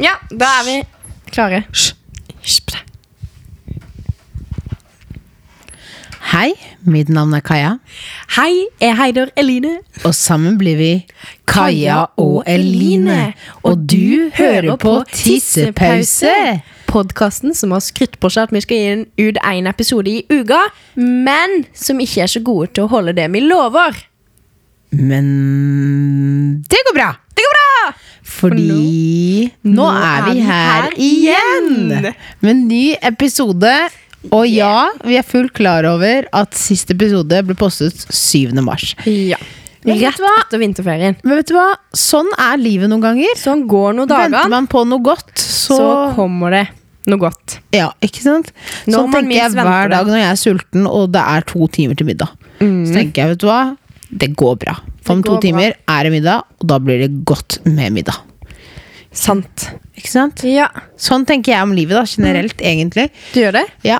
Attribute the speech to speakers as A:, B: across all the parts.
A: Ja, da er vi klare.
B: Hei, mitt navn er Kaja,
A: Hei, jeg heter Eline.
B: og sammen blir vi Kaja og Eline. Og du hører på Tissepause!
A: Podkasten som har skrytt på seg at vi skal gi en, ut én episode i uka, men som ikke er så gode til å holde det vi lover.
B: Men det går bra,
A: Det går bra!
B: fordi nå er vi her igjen! Med en ny episode. Og ja, vi er fullt klar over at siste episode ble postet 7. mars.
A: Ja.
B: Men vet
A: Rett
B: du hva?
A: etter vinterferien.
B: Men vet du hva? Sånn er livet noen ganger.
A: Sånn går nå
B: Venter
A: dagene,
B: man på noe godt, så,
A: så kommer det noe godt.
B: Ja, ikke sant?
A: Når
B: Sånn
A: man
B: tenker jeg
A: minst
B: hver
A: venter det. Mm.
B: dag når jeg er sulten og det er to timer til middag. Så tenker jeg, vet du hva, det går bra. For om
A: Det
B: to
A: går bra.
B: timer er det middag, og da blir det godt med middag.
A: Sant.
B: Ikke sant?
A: Ja.
B: Sånn tenker jeg om livet da, generelt,
A: Mm.
B: egentlig.
A: Du gjør det?
B: Ja.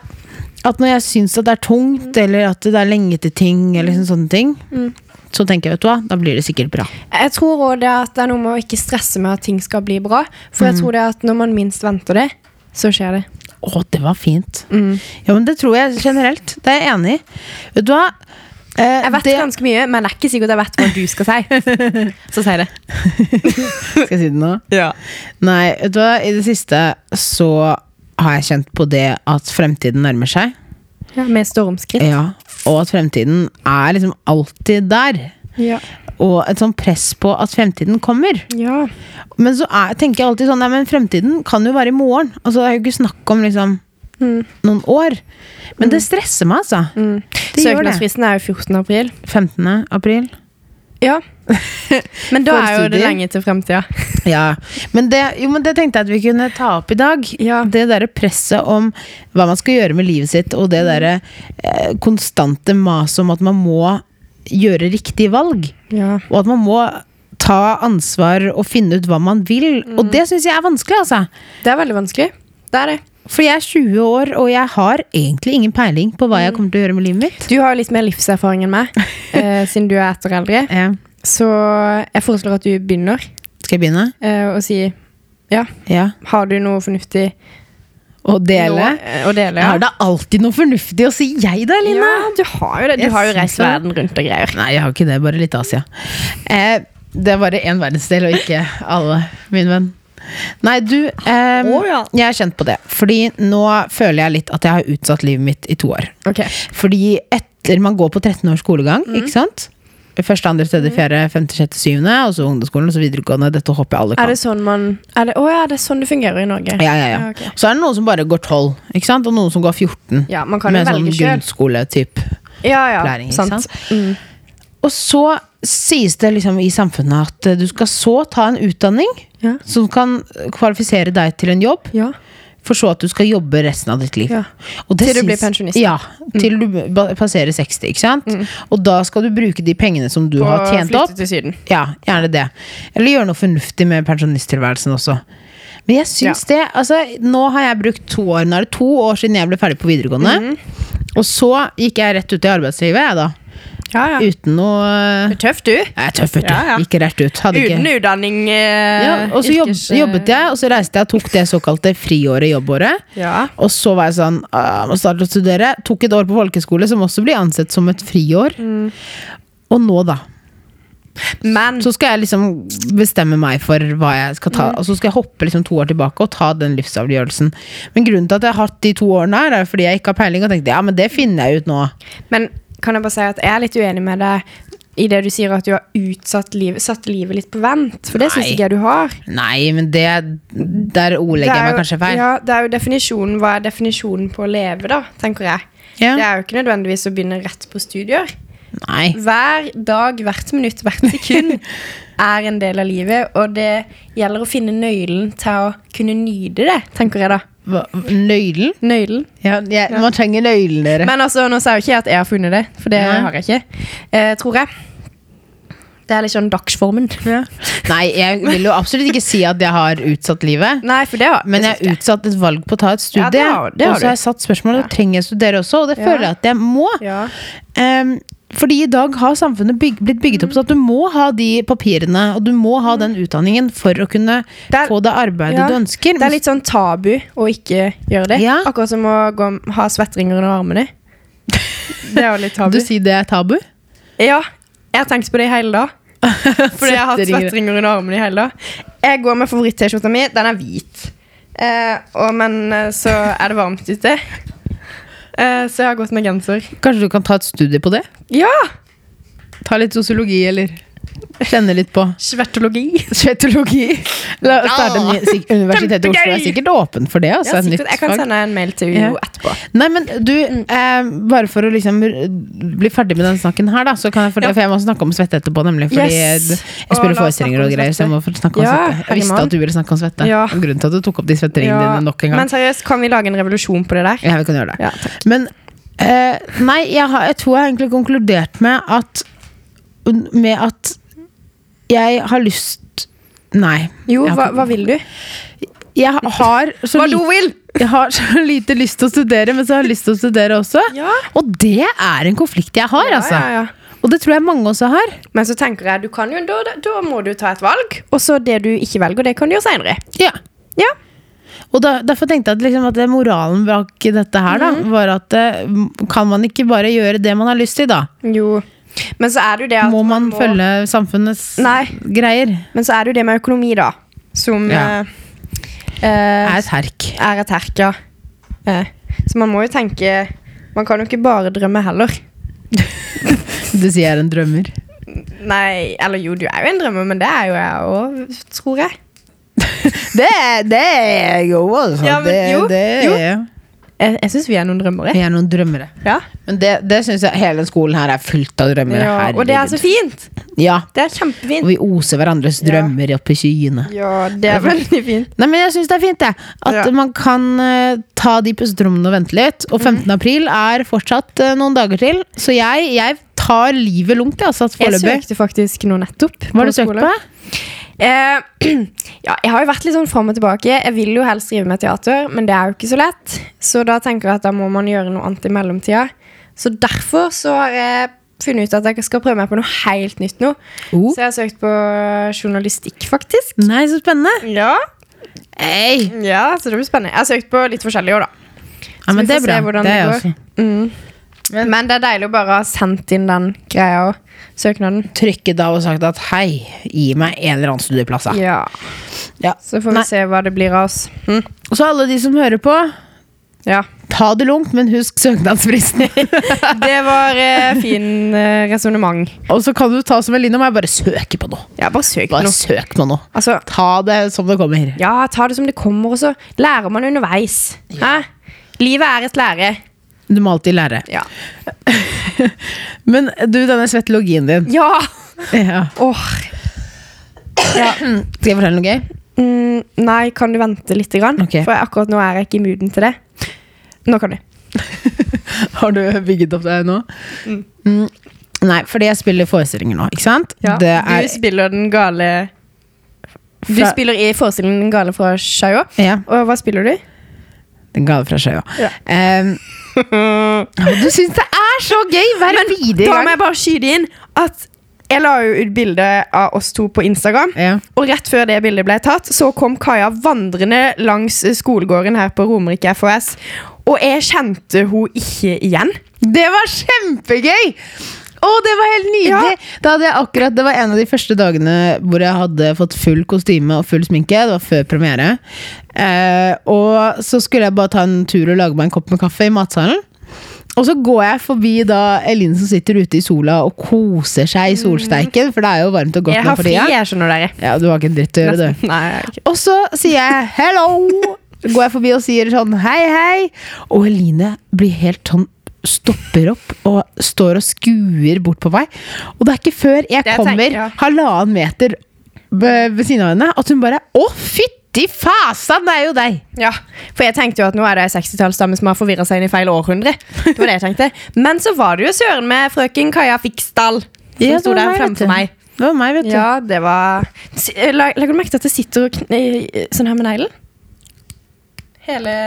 B: At når jeg syns at det er tungt,
A: Mm.
B: eller at det er lenge til ting, eller sånne, sånne ting, så tenker jeg, vet du hva, da blir det sikkert bra.
A: Jeg tror også det at det er noe med å ikke stresse med at ting skal bli bra. For jeg tror det at når man minst venter det, så skjer det.
B: Å, det var fint.
A: Mm.
B: Ja, men det tror jeg generelt. Det er jeg enig i. Vet du hva? Eh,
A: Jeg vet
B: det,
A: ganske mye, men det er ikke sikkert jeg vet hva du skal si. Så si det.
B: Skal jeg si det nå? Nei, vet du hva? I det siste så har jeg kjent på det at fremtiden nærmer seg.
A: Ja, med stormskritt.
B: Ja. Og at fremtiden er liksom alltid der.
A: Ja.
B: Og et sånn press på at fremtiden kommer.
A: Ja.
B: Men så er, tenker jeg alltid sånn, nei, men fremtiden kan jo være i morgen. Altså, det er jo ikke snakk om liksom noen år. Men det stresser meg, altså. Det gjør det.
A: Mm. Søknadsfristen er jo 14. april.
B: 15. april.
A: Ja. Men da
B: For
A: er jo det
B: studier.
A: lenge til fremtida.
B: Ja, men det, jo, men det tenkte jeg at vi kunne ta opp i dag.
A: Ja.
B: Det derre presset om hva man skal gjøre med livet sitt, og det derre eh, konstante maset om at man må gjøre riktig valg.
A: Ja.
B: Og at man må ta ansvar og finne ut hva man vil. Og
A: Mm.
B: det syns jeg er vanskelig, altså.
A: Det er veldig vanskelig. Det er det.
B: For jeg er 20 år, og jeg har egentlig ingen peiling på hva
A: Mm.
B: jeg kommer til å gjøre med livet mitt.
A: Du har jo litt mer livserfaring enn meg, eh, siden du er ett år eldre.
B: Eh,
A: Så jeg foreslår at du begynner
B: skal jeg begynne?
A: eh, å si ja.
B: Ja.
A: Har du noe fornuftig
B: Og dele?
A: nå, eh, å dele?
B: Jeg har da alltid noe fornuftig å si, jeg da, Lina.
A: Ja, du har jo det. Du
B: Jeg
A: har jo
B: syns
A: reist
B: det.
A: verden rundt og greier.
B: Nei, jeg har ikke det. Bare litt Asia. Eh, det er bare én verdensdel, og ikke alle, min venn. Nei, du ehm,
A: Å, ja.
B: Jeg har kjent på det. Fordi nå føler jeg litt at jeg har utsatt livet mitt i to år.
A: Ok.
B: Fordi etter man går på 13 års skolegang,
A: Mm.
B: ikke sant? Første, andre, tredje, fjerde, femte, sjette, syvende, og så ungdomsskolen, og så videregående. Dette hopper jeg alle
A: Er
B: kan.
A: det sånn man er det, Å ja, det er sånn det fungerer i Norge.
B: Ja, ja, ja.
A: Ja, ok.
B: Så er det noen som bare går 12, ikke sant? og noen som går 14.
A: Ja, man kan jo
B: med sånn
A: velge selv.
B: grunnskoletype.
A: Ja, ja,
B: opplæring, ikke
A: sant. Mm.
B: sant? Og så sies det liksom i samfunnet at eh, du skal så ta en utdanning
A: Ja.
B: som kan kvalifisere deg til en jobb,
A: Ja.
B: for så at du skal jobbe resten av ditt liv.
A: Ja.
B: Og det
A: Til du blir
B: sies-
A: pensjonist. Mm.
B: Ja, til du ba- passerer 60, ikke sant? Og da skal du bruke de pengene som du har
A: Og
B: tjent
A: flytte
B: opp.
A: til Syden.
B: Ja, gjerne det. Eller gjøre noe fornuftig med pensjonisttilværelsen også. Men jeg syns det altså, Nå har jeg brukt to år. Nå er det to år siden jeg ble ferdig på videregående.
A: Mhm.
B: Og så gikk jeg rett ut i arbeidslivet, jeg, da.
A: Ja, ja.
B: Uten noe
A: Det er Tøff, du.
B: jeg er tøff, vet du.
A: Ja, ja.
B: Gikk rett ut. Hadde
A: Uten
B: ikke
A: utdanning. Eh,
B: ja, og så jobb, jobbet jeg, og så reiste jeg og tok det såkalte friåret, jobbåret.
A: Ja.
B: Og så var jeg sånn «Ah, Må starte å studere. Tok et år på folkeskole, som også blir ansett som et friår.
A: Mm.
B: Og nå, da.
A: Men
B: Så skal jeg liksom bestemme meg for hva jeg skal
A: Mm.
B: ta. Og så skal jeg hoppe liksom to år tilbake og ta den livsavgjørelsen. Men grunnen til at jeg har hatt de to årene her, er fordi jeg ikke har peiling og tenkte ja, men det finner jeg ut nå.
A: Men kan jeg bare si at jeg er litt uenig med deg i det du sier at du har utsatt livet, satt livet litt på vent. For det syns
B: Nei.
A: ikke jeg du har.
B: Nei, men det Der
A: Det er
B: ordlegger jeg
A: jo-
B: meg kanskje feil.
A: Ja, det er jo definisjonen, Hva er definisjonen på å leve, da, tenker jeg.
B: Ja.
A: Det er jo ikke nødvendigvis å begynne rett på studier.
B: Nei.
A: Hver dag, hvert minutt, hvert sekund er en del av livet, og det gjelder å finne nøkkelen til å kunne nyte det, tenker jeg da.
B: Hva- Nøylen?
A: Nøkkelen.
B: Ja, jeg, Man trenger nøylen, dere.
A: Men altså, nå sier jo ikke jeg at jeg har funnet det, for det
B: Nei.
A: har jeg ikke. Eh, tror jeg. Det er litt sånn dagsformen.
B: Nei, jeg vil jo absolutt ikke si at jeg har utsatt livet.
A: Nei, for det har
B: Men jeg har utsatt et valg på å ta et studie.
A: Ja, det har- det har
B: og så har jeg satt spørsmålet trenger jeg studere også, og det
A: Ja.
B: føler jeg at jeg må.
A: Ja.
B: Ehm, Fordi i dag har samfunnet byg blitt bygget
A: Mm.
B: opp sånn at du må ha de papirene og du må ha den utdanningen for å kunne
A: Det er-
B: få det arbeidet
A: Ja.
B: du ønsker.
A: Det er litt sånn tabu å ikke gjøre det.
B: Ja.
A: Akkurat som å gå, ha svettringer under armene. Det er jo litt tabu.
B: Du sier det er tabu?
A: Ja, jeg har tenkt på det i hele dag. Fordi jeg har hatt
B: Svetteringer.
A: svettringer under armene i hele dag. Jeg går med favoritt-T-skjorta mi. Den er hvit. Eh, og, men eh, så er det varmt ute. Eh, så jeg har gått med genser.
B: Kanskje du kan ta et studie på det?
A: Ja!
B: Ta litt sosiologi, eller kjenne litt på
A: Svetologi.
B: Svetologi. La oss
A: Ja.
B: starte en ny sik- Universitetet i Oslo er
A: Kjempegøy!
B: sikkert åpen for det. Altså,
A: Ja,
B: et nytt
A: sikkert. Jeg kan
B: fag.
A: sende Mm. en mail til
B: Ja.
A: UiO etterpå.
B: Nei, men du, eh, bare for å liksom r- bli ferdig med den snakken her, da, så kan jeg, for,
A: Ja.
B: for jeg må snakke om svette etterpå, nemlig. Fordi
A: Yes.
B: jeg,
A: Og
B: jeg
A: la oss
B: spiller
A: snakke
B: forestillinger
A: om
B: og greier, så jeg må få snakke om
A: Ja,
B: svette. Jeg visste
A: herremann.
B: at du ville snakke om svette.
A: Ja.
B: Og Grunnen til at du tok opp de svetteringene
A: Ja,
B: dine nok en gang.
A: Men seriøst, kan vi lage en revolusjon på det der?
B: ja, vi kan gjøre det.
A: Ja, takk.
B: Men eh, nei, jeg, har, jeg tror jeg har egentlig konkludert med at Med at jeg har lyst Nei.
A: Jo, hva,
B: Jeg har ikke-
A: hva vil du?
B: Jeg har så,
A: Hva du
B: lite,
A: vil?
B: jeg har så lite lyst til å studere, men så har jeg lyst til å studere også.
A: Ja.
B: Og det er en konflikt jeg har, altså.
A: Ja, ja, ja.
B: Og det tror jeg mange også har.
A: Men så tenker jeg, du kan jo, da, da- da må du ta et valg, og så det du ikke velger, det kan du gjøre senere.
B: Ja.
A: Ja.
B: Og da, derfor tenkte jeg at, liksom, at det moralen bak dette her da,
A: Mhm.
B: var at eh, kan man ikke bare gjøre det man har lyst til, da?
A: Jo. Men så er det jo det at
B: Må man følge samfunnets
A: Nei.
B: greier?
A: Men så er det jo det med økonomi, da, som
B: Ja.
A: eh, eh,
B: Er et herk.
A: er et herk, ja. Eh, så man må jo tenke Man kan jo ikke bare drømme heller.
B: Du sier jeg er en drømmer.
A: Nei, eller jo, du er jo en drømmer, men det er jo jeg òg, tror jeg. det
B: er jeg jo, altså.
A: Ja, men jo, jo.
B: er-
A: Jeg, jeg syns vi er noen drømmere.
B: Vi er noen drømmere.
A: Ja.
B: Men det, det syns jeg hele skolen her er fullt av drømmere.
A: Ja, og det er så
B: herregud.
A: fint.
B: ja,
A: Det er
B: og
A: kjempefint.
B: vi oser hverandres
A: Ja.
B: drømmer opp i skyene.
A: Ja, det er veldig fint.
B: Nei, men jeg syns det er fint, jeg. At
A: Ja.
B: man kan eh, ta de pustetrommene og vente litt. Og 15.
A: Mhm.
B: april er fortsatt eh, noen dager til, så jeg, jeg tar livet lungt, jeg, altså,
A: Jeg
B: foreløpig.
A: søkte faktisk nå nettopp.
B: Hva har
A: på
B: du søkt
A: skole.
B: på?
A: Eh, ja, jeg har jo vært litt sånn fram og tilbake. Jeg vil jo helst drive med teater, men det er jo ikke så lett. Så da tenker jeg at da må man gjøre noe annet i mellomtida. Så derfor så har jeg funnet ut at jeg skal prøve meg på noe helt nytt nå.
B: Oh.
A: Så jeg har søkt på journalistikk, faktisk.
B: Nei, så spennende.
A: Ja,
B: Hey.
A: ja så det blir spennende. Jeg har søkt på litt forskjellig òg, da.
B: Ja, men
A: vi får
B: det
A: se
B: er bra.
A: hvordan
B: Det er
A: det
B: jeg
A: går.
B: også.
A: Mm. Men, det er deilig å bare ha sendt inn den greia og søknaden.
B: Trykket av og sagt at hei, gi meg en eller annen studieplass. da.
A: Ja.
B: Ja.
A: Så får vi
B: Nei.
A: se hva det blir av oss. Mm.
B: Og så alle de som hører på,
A: Ja.
B: ta det lungt, men husk søknadsfristen.
A: Det var eh, fin eh, resonnement.
B: og så kan du ta som en linje om jeg bare søker på noe.
A: Ja, bare søk
B: Bare
A: nå.
B: søk på noe.
A: Altså,
B: Ta det som det kommer.
A: ja, ta det som det kommer, og så lærer man underveis. Hæ? Livet er et lære.
B: Du må alltid lære.
A: Ja.
B: Men du, denne svettelogien din.
A: Ja!
B: Ja.
A: Åh.
B: Skal jeg fortelle noe gøy?
A: Mm, nei, kan du vente litt? Grann?
B: Ok.
A: For akkurat nå er jeg ikke i mooden til det. Nå kan du.
B: Har du bygget opp deg nå? Mm. Nei, fordi jeg spiller forestillinger nå, ikke sant? Det er,
A: Du spiller den gale Du
B: Fra-
A: spiller i forestillingen Den gale fra Skeia.
B: ja,
A: Og hva spiller du?
B: den gave fra Sjøya.
A: Ja.
B: Um, du syns det er så gøy hver bidige
A: Da
B: gang!
A: må jeg bare skyte inn at jeg la jo ut bilde av oss to på Instagram.
B: Ja.
A: Og rett før det bildet ble tatt, så kom Kaja vandrende langs eh, skolegården her på Romerike FHS. Og jeg kjente hun ikke igjen.
B: Det var kjempegøy! Å, det var helt nydelig! Da hadde jeg akkurat, Det var en av de første dagene hvor jeg hadde fått full kostyme og full sminke. Det var før premiere. Eh, og så skulle jeg bare ta en tur og lage meg en kopp med kaffe i matsalen. Og så går jeg forbi da Elin som sitter ute i sola og koser seg i solsteiken. For det er jo varmt og godt
A: Mm. Jeg
B: nå
A: har
B: for
A: fri,
B: tida.
A: jeg skjønner dere.
B: Ja, du har ikke en dritt å gjøre, du.
A: Nei, jeg har ikke.
B: Og så sier jeg 'hello'. Går jeg forbi og sier sånn 'hei, hei'. Og Eline blir helt sånn Stopper opp og står og skuer bort på meg. Og det er ikke før jeg
A: Det tenker
B: kommer
A: jeg.
B: halvannen meter ved ved siden av henne, at hun bare 'Å, fytti fasan, det er jo deg'!
A: Ja, for jeg tenkte jo at nå er det ei 60-tallsdame som har forvirra seg inn i feil århundre. Det var det jeg tenkte. Men så var det jo søren med frøken Kaja Fiksdal som
B: Ja, det
A: sto
B: var
A: der
B: meg, vet du.
A: fremfor meg.
B: Det var meg, vet du.
A: Ja, det var S- la- Legger du merke til at jeg sitter og kn eh, sånn her med neglen? Hele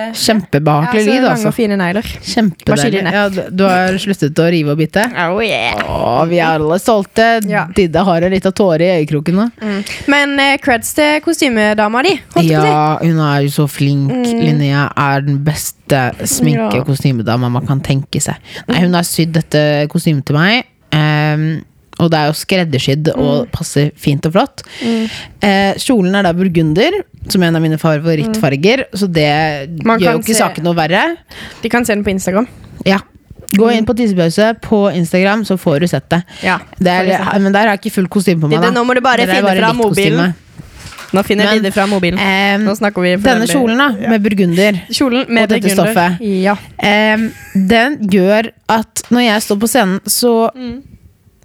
A: Ja,
B: Kjempebehagelig
A: så
B: lyd,
A: Lange
B: altså.
A: og fine negler.
B: Kjempedeilig.
A: Maskinen.
B: Ja, d- du har sluttet å rive og bite?
A: Oh, yeah.
B: Å, vi er alle stolte.
A: Ja.
B: Didde har en lita tåre i øyekroken nå.
A: mm. Men eh, creds til kostymedama di. holdt jeg på å si. Mm.
B: Ja, hun er jo så flink. Linnea er den beste sminke- og kostymedama man kan tenke seg. Nei, hun har sydd dette kostymet til meg. ehm, og det er jo skreddersydd
A: Mm.
B: og passer fint og flott. Eh, kjolen er da burgunder, som er en av mine favorittfarger. Så det
A: Mm. Man
B: gjør jo
A: kan
B: ikke
A: se-
B: saken noe verre.
A: De kan se den på Instagram.
B: Ja. Gå inn på tissepause på Instagram, så får du sett det.
A: Ja,
B: det er,
A: får du sett
B: men der har jeg ikke fullt kostyme på meg.
A: Didde,
B: da.
A: nå må du bare
B: Der er
A: finne fram
B: litt
A: mobilen.
B: kostyme.
A: Nå finner
B: Men,
A: de det fra mobilen.
B: Ehm,
A: Nå snakker vi for
B: denne
A: veldig-
B: kjolen, da, med burgunder,
A: Kjolen med
B: og dette
A: burgunder.
B: stoffet.
A: Ja.
B: ehm, den gjør at når jeg står på scenen, så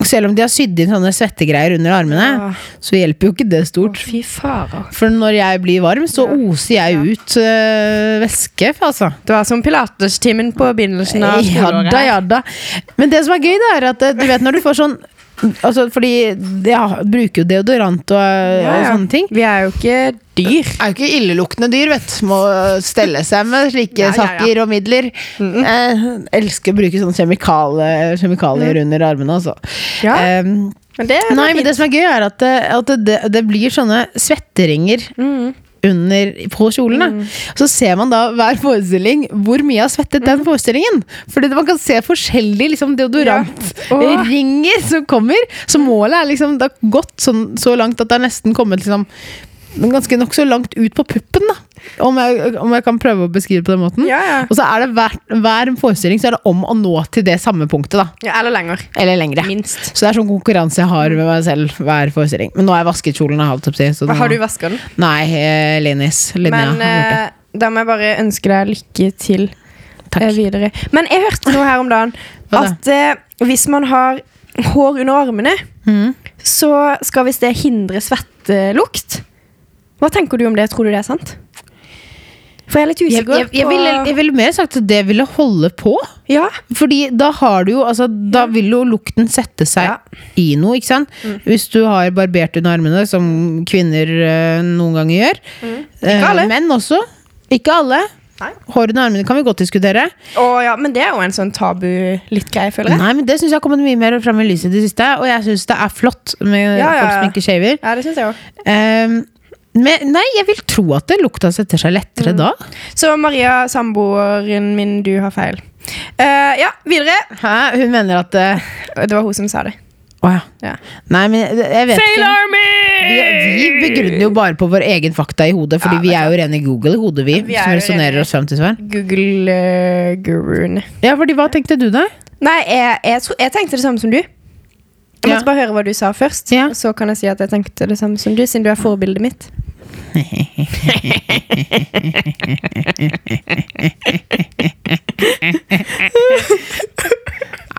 B: Selv om de har sydd inn sånne svettegreier under armene,
A: Ah.
B: så hjelper jo ikke det stort.
A: Fy fader.
B: For når jeg blir varm, så oser jeg ut øh, væske, altså.
A: Det var som pilatestimen på begynnelsen av
B: Ja
A: skoleåret.
B: da, ja da. Men det som er gøy, da, er at eh, du vet når du får sånn altså, Fordi jeg bruker jo deodorant og,
A: Ja,
B: og
A: ja.
B: sånne ting.
A: Vi er jo ikke dyr.
B: Er jo ikke illeluktende dyr, vet du. Må stelle seg med slike
A: Ja, ja, ja.
B: saker og midler. Eh, elsker å bruke sånne kjemikale- kjemikalier under armene, altså.
A: Ja.
B: Eh,
A: Men det er
B: nei,
A: fint.
B: men det som er gøy, er at, det- at det, det blir sånne svetteringer
A: Mm.
B: under, på kjolen. da. Så ser man da hver forestilling hvor mye har svettet
A: Mm.
B: den forestillingen. Fordi man kan se forskjellige liksom,
A: Åh.
B: deodorantringer som kommer. Så målet er liksom det har gått sånn, så langt at det er nesten kommet liksom Ganske nokså langt ut på puppen, da. Om jeg, om jeg kan prøve å beskrive det på den måten.
A: Ja, ja.
B: Og så er det hver, hver forestilling så er det om å nå til det samme punktet, da.
A: ja. Eller lenger.
B: Eller lengre.
A: Minst.
B: Så det er sånn konkurranse jeg har med meg selv hver forestilling. Men nå har jeg vasket kjolen. jeg holdt opp til, så nå-
A: Har du vaska den?
B: Nei, eh, Linnis. Linnea
A: Men
B: har gjort det.
A: eh, da må jeg bare ønske deg lykke til
B: Takk.
A: eh, videre. Men jeg hørte noe her om dagen
B: Hva
A: at eh, hvis man har hår under armene,
B: Mhm.
A: så skal visst det hindre svettelukt. Hva tenker du om det? Tror du det er sant? For jeg er litt
B: Jeg,
A: usikker
B: jeg, jeg, ville, jeg ville mer sagt at det ville holde på.
A: på Ja,
B: Fordi da har du jo altså, Da vil jo lukten sette seg
A: Ja. Mm.
B: i noe, ikke sant? Hvis du har barbert under armene, som kvinner eh, noen ganger gjør. Eh,
A: Mm. alle.
B: menn også. Ikke alle.
A: Nei.
B: Hår under armene kan vi godt diskutere.
A: Å ja, men det er jo en sånn tabu-litt-greie, føler jeg.
B: Nei, men Det syns jeg har kommet mye mer fram i lyset i det siste. Og jeg syns det er flott med
A: Ja, ja,
B: folk
A: ja.
B: som ikke shaver.
A: Ja, det synes jeg også.
B: Eh, men nei, jeg vil tro at det lukta setter seg
A: Mm.
B: lettere da.
A: Så Maria, samboeren min, du har feil. Eh, ja, videre.
B: Hæ? Hun mener at eh,
A: Det var hun som sa det.
B: Å ja.
A: Ja.
B: Nei, men jeg- jeg vet
A: Fail
B: ikke.
A: Army!
B: Vi, vi begrunner jo bare på vår egen fakta i hodet,
A: Ja,
B: fordi vi er jo rene Google i hodet, vi.
A: Vi er
B: som
A: jo
B: resonerer
A: rene-
B: oss frem til svar.
A: eh, Google-guruen.
B: Ja, fordi hva tenkte du, da?
A: Nei, jeg, jeg, tro, jeg tenkte det samme som du. Jeg
B: Ja.
A: måtte bare høre hva du sa først,
B: Ja.
A: og så kan jeg si at jeg tenkte det samme som du, siden du er forbildet mitt.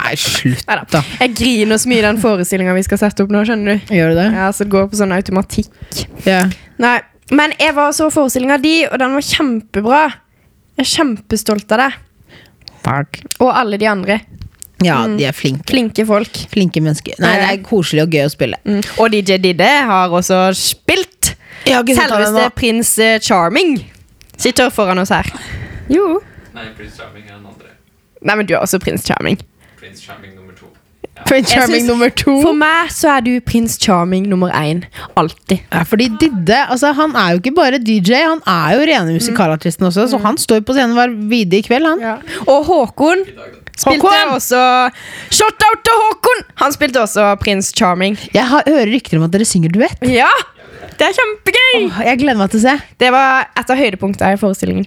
B: Nei, slutt,
A: Neida.
B: da.
A: Jeg griner så mye i den forestillinga vi skal sette opp nå, skjønner du.
B: Gjør du det?
A: Ja, så det går på sånn automatikk.
B: Ja.
A: Nei, men jeg var og så forestillinga di, og den var kjempebra. Jeg er kjempestolt av deg.
B: Takk.
A: Og alle de andre.
B: Ja, de er flinke.
A: Flinke folk.
B: Flinke mennesker. Nei, det er koselig og gøy å spille.
A: Mm. Og DJ Didde har også spilt
B: Jeg har ikke sett han
A: selveste
B: ennå.
A: prins eh, Charming. Sitter foran oss her. Jo.
C: Nei, Prince Charming er den andre.
A: Nei, men du er også prins Charming.
C: Prince Charming nummer to.
B: Prince
A: Jeg
B: Charming
A: synes-
B: nummer to.
A: For meg så er du prins Charming nummer én. Alltid.
B: Ja, fordi Didde altså, han er jo ikke bare DJ, han er jo rene musikalartisten også. Så han står på scenen hver vide kveld, han.
A: Og Håkon
C: I dag, da.
A: spilte
B: Håkon!
A: også Shout-out til Håkon! Han spilte også prins Charming.
B: Jeg har, hører rykter om at dere synger duett.
A: Ja! Det er kjempegøy!
B: Åh, Jeg gleder meg til å se.
A: Det var et av høydepunktene i forestillingen.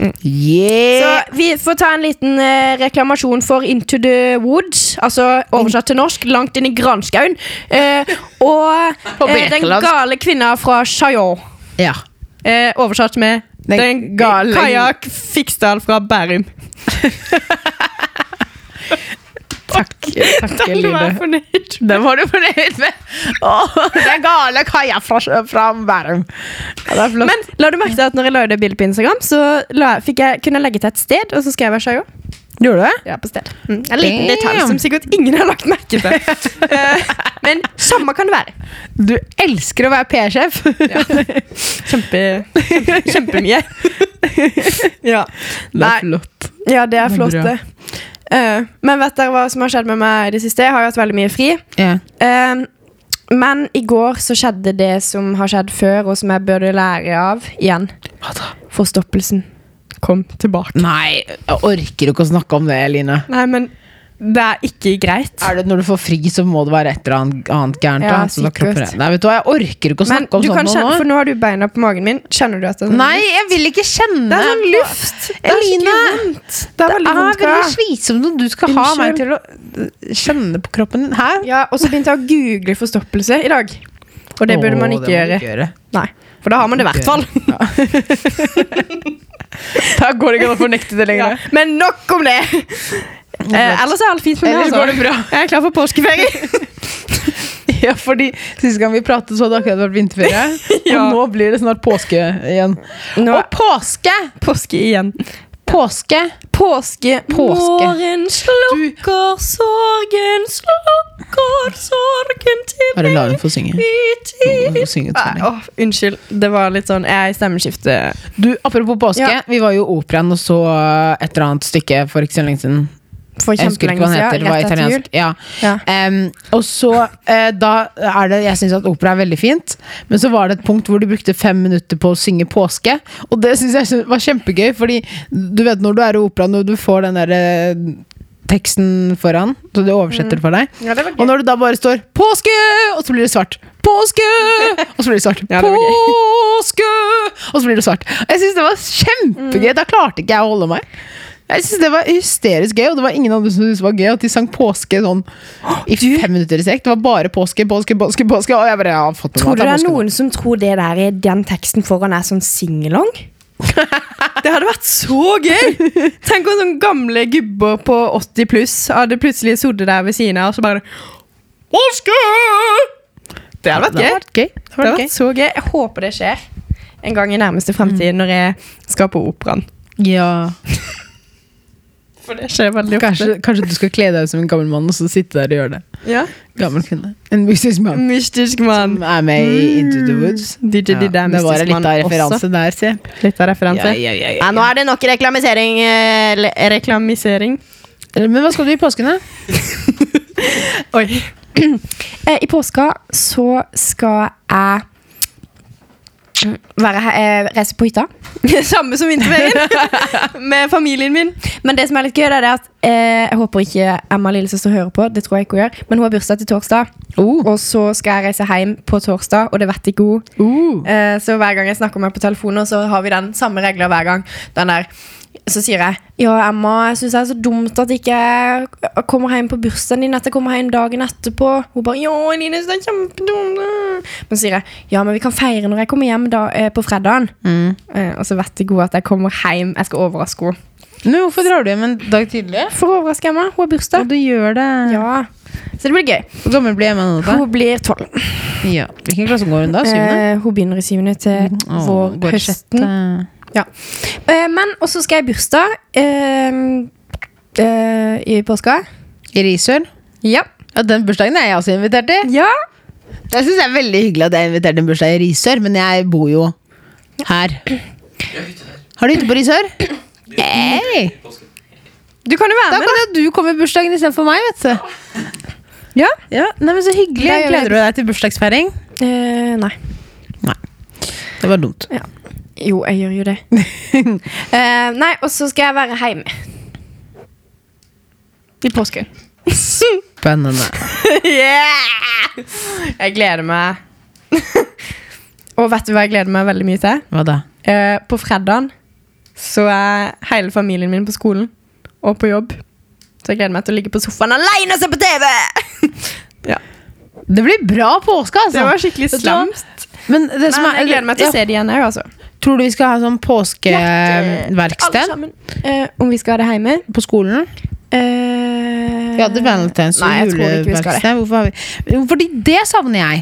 A: Så
B: Yeah!
A: vi får ta en liten eh, reklamasjon for Into the Woods. Altså oversatt til norsk, langt inn i granskauen. Eh, og
B: På
A: eh, den
B: Birkeland.
A: gale kvinna fra Chaillot.
B: ja.
A: Eh, oversatt med
B: Den
A: Den, gale
B: gale-
A: Kajak Fiksdal fra Bærum.
B: Takk. Takk,
A: Den var jeg fornøyd.
B: Den var du fornøyd med! Åh, det er gale kaia fra, fra Bærum. Ja, det er flott.
A: Men la du merke til at når jeg la ut det bildet på Instagram, så la, fikk jeg, kunne jeg legge til et sted, og så skrev jeg Chaillot.
B: gjorde du det?
A: Ja, på sted. Mm. En liten detalj
B: Damn.
A: som sikkert ingen har lagt merke til. Eh, Men samme kan det være.
B: Du elsker å være PR-sjef.
A: Kjempe, kjempe, kjempemye. ja.
B: Det
A: Nei.
B: er flott.
A: ja, det er
B: Det er
A: flott,
B: bra.
A: det. Eh, men vet dere hva som har skjedd med meg i det siste? Jeg har jo hatt veldig mye fri.
B: Ja.
A: Eh, men i går så skjedde det som har skjedd før, og som jeg burde lære av igjen.
B: Hva da?
A: Forstoppelsen kom tilbake.
B: Nei, jeg orker ikke å snakke om det, Eline.
A: Nei, men det er ikke greit.
B: Er det Når du får fri, så må det være et eller annet, annet gærent.
A: Ja,
B: da, som tar
A: sikkert.
B: kroppen igjen. Nei, vet du hva, jeg orker ikke å
A: Men
B: snakke om
A: du
B: sånt
A: kan kjenne,
B: noe
A: for
B: nå.
A: sånn nå har du beina på magen min. Kjenner du at det er sånn
B: Nei, jeg vil ikke kjenne
A: Det er sånn luft! Det er
B: Eline,
A: skikkelig vondt. Det er veldig vondt.
B: veldig
A: Kara.
B: slitsomt om du skal ha meg til å kjenne på kroppen din. Hæ?
A: Ja, og så begynte jeg å google forstoppelse i dag. Og det burde
B: Åh,
A: man
B: det
A: ikke
B: må du
A: gjøre. Nei, For da har man det i hvert fall.
B: Da går det ikke an å fornekte det
A: Ja.
B: lenger.
A: Men nok om det! Eh, ellers er alt fint med meg.
B: Ellers
A: Altså.
B: går det bra.
A: Jeg er klar for påskeferie.
B: Ja, fordi Sist gang vi pratet, så hadde det akkurat vært vinterferie.
A: Ja.
B: Og nå blir det snart påske igjen.
A: Nå
B: Og påske!
A: påske igjen.
B: Påske!
A: Påske.
B: Påske.
A: Morgen slukker sorgen, slukker sorgen til
B: Bare la hun få synge. Hun får synge til meg.
A: Nei, åh, unnskyld. Det var litt sånn Jeg er i stemmeskifte.
B: Du, Apropos påske,
A: Ja.
B: vi var jo i operaen og så et eller annet stykke for ikke så lenge siden.
A: For
B: Jeg husker ikke
A: kjempelenge
B: hva den heter.
A: siden.
B: det var
A: Rett etter jul.
B: italiensk. Ja.
A: Ja.
B: Em, og så eh, da er det Jeg syns at opera er veldig fint, men så var det et punkt hvor de brukte fem minutter på å synge påske. Og det syns jeg var kjempegøy, fordi du vet når du er i operaen og du får den derre teksten foran, så de oversetter for deg.
A: Ja, det var gøy.
B: Og når det da bare står 'påske', og så blir det svart. Påske! Og så blir det svart.
A: Ja, det var gøy.
B: Påske! Og så blir det svart. Jeg syns det var kjempegøy. Da klarte ikke jeg å holde meg. Jeg synes Det var hysterisk gøy, og det var ingen andre som syntes det var gøy at de sang påske sånn i fem minutter i strekk. Det var bare påske, påske, påske. påske Og jeg bare, jeg har fått med meg
A: Tror du
B: at
A: det er
B: påske nå.
A: noen som tror det der i den teksten foran er sånn singelong? Det hadde vært så gøy! Tenk om sånne gamle gubber på 80 pluss hadde plutselig sittet der ved siden av og så bare Påske! Det hadde vært gøy.
B: Det hadde vært gøy. Det
A: Det
B: hadde
A: hadde
B: vært gøy.
A: vært så gøy. Jeg håper det skjer en gang i nærmeste fremtid når jeg skal på operaen.
B: Ja.
A: For det skjer veldig ofte.
B: Kanskje, kanskje du skal kle deg ut som en gammel mann og så sitte der og gjøre det.
A: Ja.
B: Gammel kvinne. En mystisk mann.
A: Mystisk mann. Mm.
B: Som er med i Into the Woods.
A: DJ
B: Ja,
A: Diddy er
B: det var
A: mystisk
B: litt
A: mann også.
B: av referanse der, se.
A: Litt av referanse.
B: Ja, ja, ja, ja,
A: Ja, nå er det nok reklamisering. eh, le- reklamisering.
B: Men hva skal du i påsken, da?
A: Oi. Eh, I påska så skal jeg være, he- eh, reise på hytta. Samme som vinterferien. Med familien min. Men det som er litt gøy, det er det at eh, jeg håper ikke Emma lillesøster hører på. Det tror jeg ikke hun gjør. Men hun har bursdag til torsdag, og så skal jeg reise hjem på torsdag, og det vet ikke hun.
B: Uh.
A: Eh, Så hver gang jeg snakker med henne på telefonen, så har vi den samme regler hver gang. Den der, så sier jeg Ja, Emma, jeg syns det er så dumt at ikke jeg ikke kommer hjem på bursdagen din. At jeg kommer hjem dagen etterpå. Hun bare Ja, Eline, det er kjempedumt. Men så sier jeg ja, men vi kan feire når jeg kommer hjem da, eh, på fredagen.
B: Mm.
A: Eh, Og så vet ikke hun at jeg kommer hjem. Jeg skal overraske henne.
B: Men hvorfor drar du hjem en dag tidlig?
A: For å overraske Emma. Hun har bursdag.
B: du gjør det.
A: Ja. Så det blir gøy.
B: Hvor gammel blir Emma nå? da?
A: Hun blir tolv.
B: Ja. Hvilken klasse går hun da? Syvende?
A: Eh, hun begynner i syvende til
B: Åh,
A: vår
B: går det
A: høsten.
B: siste?
A: Ja. Eh, men også skal jeg i bursdag eh, eh, i påska.
B: I Risør?
A: Ja.
B: Ja, den bursdagen er jeg også invitert til.
A: ja.
B: Jeg synes det er veldig hyggelig at jeg er invitert til en bursdag i Risør, men jeg bor jo her.
C: Jeg er ute her.
B: Har du hytte på Risør? Hey.
C: I påsken.
A: Du kan jo
B: Da
A: være med.
B: kan jo du komme i bursdagen istedenfor meg, vet du.
A: Ja.
B: Ja, nei, men Så hyggelig.
A: Da gjør vi
B: Gleder du deg til bursdagsfeiring?
A: Eh, nei.
B: Det var dumt.
A: Jo, jeg gjør jo det. eh, nei, og så skal jeg være hjemme. I påsken.
B: Spennende.
A: yeah! Jeg gleder meg. og vet du hva jeg gleder meg veldig mye til?
B: Hva da?
A: Eh, på fredagen så er hele familien min på skolen og på jobb. Så jeg gleder meg til å ligge på sofaen alene og se på TV! ja,
B: Det blir bra påske, altså!
A: Det var skikkelig
B: Vet du hva?
A: slamt.
B: Men det som
A: Men
B: er,
A: jeg gleder meg til å
B: Ja,
A: se det igjen. Jeg, altså.
B: Tror du vi skal ha sånn Eh,
A: Alle
B: påskeverksted
A: sammen. Eh, om vi skal ha det hjemme?
B: på skolen?
A: Eh,
B: Vi hadde valentines
A: Nei, jeg
B: og
A: tror ikke vi skal det.
B: juleverksted. Hvorfor har vi Jo, Fordi det savner jeg.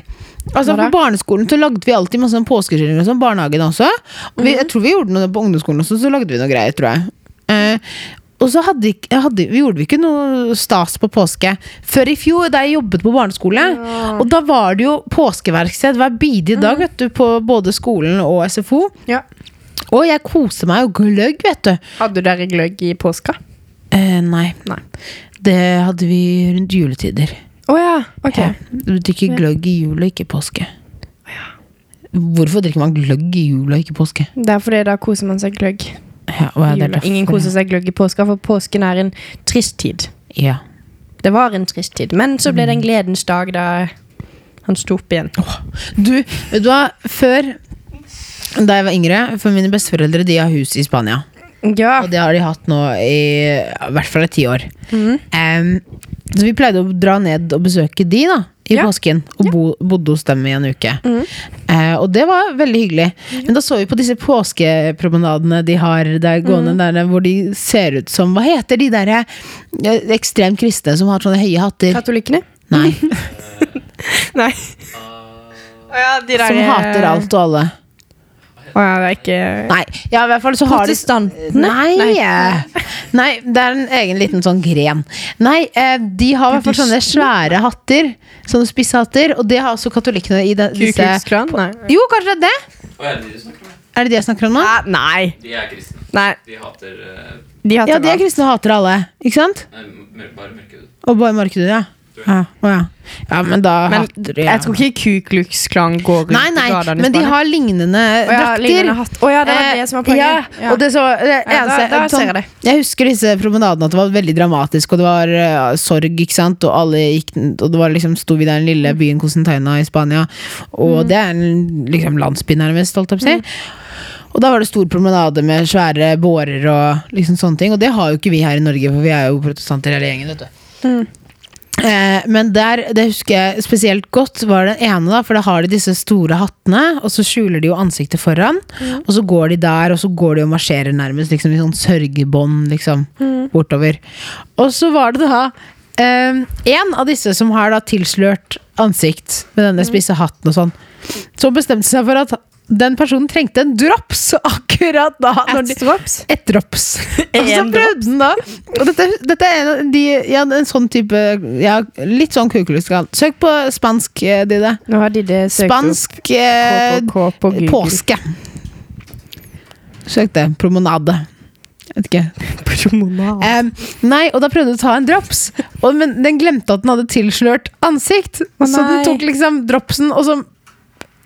B: Altså
A: Hva da?
B: På barneskolen så lagde vi alltid masse sånn påskekyllinger og sånn. Barnehagen også. Og vi, jeg tror vi gjorde noe på ungdomsskolen også, så lagde vi noe greier, tror jeg. Eh, og så hadde, ikke- hadde, vi gjorde vi ikke noe stas på påske før i fjor, da jeg jobbet på barneskole. Og da
A: Mm.
B: var det jo påskeverksted hver bidige dag vet du, på både skolen og SFO.
A: Ja.
B: Og jeg koser meg jo gløgg, vet du.
A: Hadde dere gløgg i påska?
B: Eh, nei.
A: Nei.
B: Det hadde vi rundt juletider.
A: Å ja. Ok.
B: Ja. Du drikker gløgg i jul og ikke påske. Hvorfor drikker man gløgg i jul og ikke påske?
A: Det er fordi da koser man seg gløgg. i
B: Ja, og ja, det er
A: jula.
B: derfor-
A: Ingen koser seg gløgg i påska, for påsken er en trist tid.
B: Ja.
A: Det var en trist tid, men så ble det en
B: Mm.
A: gledens dag da han sto opp igjen.
B: Du, vet du hva? Før, da jeg var yngre, for mine besteforeldre de har hus i Spania.
A: Ja.
B: Og det har de hatt nå i, i hvert fall i ti år.
A: Mm.
B: Em, så vi pleide å dra ned og besøke de da i
A: Ja. Mm.
B: påsken. Og bo, bodde hos dem i en uke. Eh, og det var veldig hyggelig. Men da så vi på disse påskepromenadene de har der gående
A: Mm.
B: der hvor de ser ut som Hva heter de derre ekstremt kristne som har sånne høye hatter?
A: Katolikkene?
B: Nei.
A: Nei. ja, de eh,
B: Som hater alt og alle.
A: Å ja, det er ikke
B: Nei. Ja, i hvert fall så har de
A: Protestantene?
B: Nei.
A: Nei.
B: Nei, det er en egen liten sånn gren. Nei, eh, de har i hvert fall sånne svære hatter. Sånne spisse hatter. Og det har også katolikkene i den,
A: Ku
B: disse
A: Klux Klan? Nei.
B: Jo, kanskje det er det?
C: Å ja, de du snakker med.
B: Er det det jeg snakker om nå?
A: Ah, Nei.
C: De er kristne.
A: Nei.
C: De hater eh,
A: De hater
B: Ja, de er
A: alt.
B: kristne og hater alle. Ikke sant?
C: nei, mør- bare mørkehud.
B: Og bare markedet, ja. Ja, å ja. ja, men da
A: Men
B: hater
A: jeg tror ikke Ku Klux Klan går rundt
B: Nei, nei,
A: i gatene i
B: men de
A: Spania.
B: har lignende
A: Å ja,
B: drakter.
A: lignende hatt. Å ja, det var det som var poenget.
B: Eh, Ja,
A: Eh, Ja.
B: og det så, det
A: Ja, da-
B: eneste-
A: da ser
B: sånn-
A: jeg det.
B: Jeg husker disse promenadene at det var veldig dramatisk, og det var eh, sorg, ikke sant, og alle gikk Og det var liksom, sto vi der i den lille byen Constantina i Spania, og det er en liksom landsby nærmest, holdt jeg på å si. Og da var det stor promenade med svære bårer og liksom sånne ting. Og det har jo ikke vi her i Norge, for vi er jo protestanter hele gjengen, vet du. Eh, men der, det husker jeg spesielt godt, var den ene, da. For da har de disse store hattene, og så skjuler de jo ansiktet foran. Og så går de der, og så går de og marsjerer nærmest liksom, i sånn sørgebånd, liksom. Bortover. Og så var det da eh, en av disse som har da tilslørt ansikt med denne spisse hatten og sånn, som bestemte seg for at den personen trengte en drops akkurat da. når de-
A: Drops?
B: et drops. Og så
A: En
B: prøvde den da. Og dette, dette er en, av de, ja, en sånn type ja, Litt sånn kukuliskal. Søk på spansk, eh, Dide.
A: Nå har de det søkt
B: Spansk eh,
A: opp KKK på Google.
B: påske. Søk det. Promenade. Jeg vet ikke.
A: Promenade.
B: Em, nei, og da prøvde hun å ta en drops, og, men den glemte at den hadde tilslørt ansikt.
A: Å,
B: så den
A: nei.
B: tok liksom dropsen og så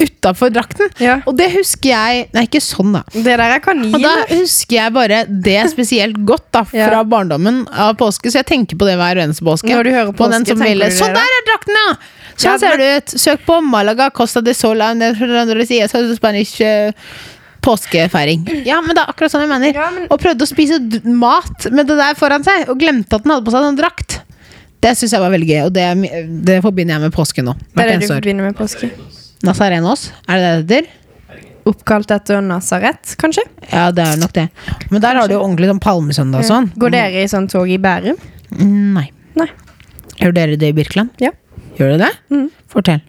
B: utafor drakten.
A: Ja.
B: Og det husker jeg Nei, ikke sånn, da.
A: Det der er
B: Og da
A: kaniner.
B: husker jeg bare det spesielt godt da,
A: Ja.
B: fra barndommen av påske, så jeg tenker på det hver eneste påske.
A: Når du hører
B: På den
A: påske,
B: som
A: tenker
B: ville,
A: du det,
B: sånn
A: da?»
B: der er drakten, ja! Sånn
A: Ja,
B: ser det ut. Søk på Malaga Costa de Sola de Andalusia, så er det Spanish eh, påskefeiring. Ja, men det er akkurat sånn jeg mener.
A: Ja, men-
B: Og prøvde å spise d- mat med det der foran seg, og glemte at den hadde på seg en drakt. Det syns jeg var veldig gøy, og det, er mi- det forbinder jeg med påske nå.
A: Det er
B: Hvert
A: det du
B: eneste år.
A: forbinder med påske.
B: Nazarenos, er det det det heter?
A: Oppkalt etter Nazaret, kanskje?
B: Ja, det er nok det. Men der har du jo ordentlig sånn palmesøndag og sånn.
A: Går dere i sånn tog i Bærum?
B: Nei.
A: Nei.
B: Gjør dere det i Birkeland?
A: Ja.
B: Gjør dere det?
A: Mm.
B: Fortell.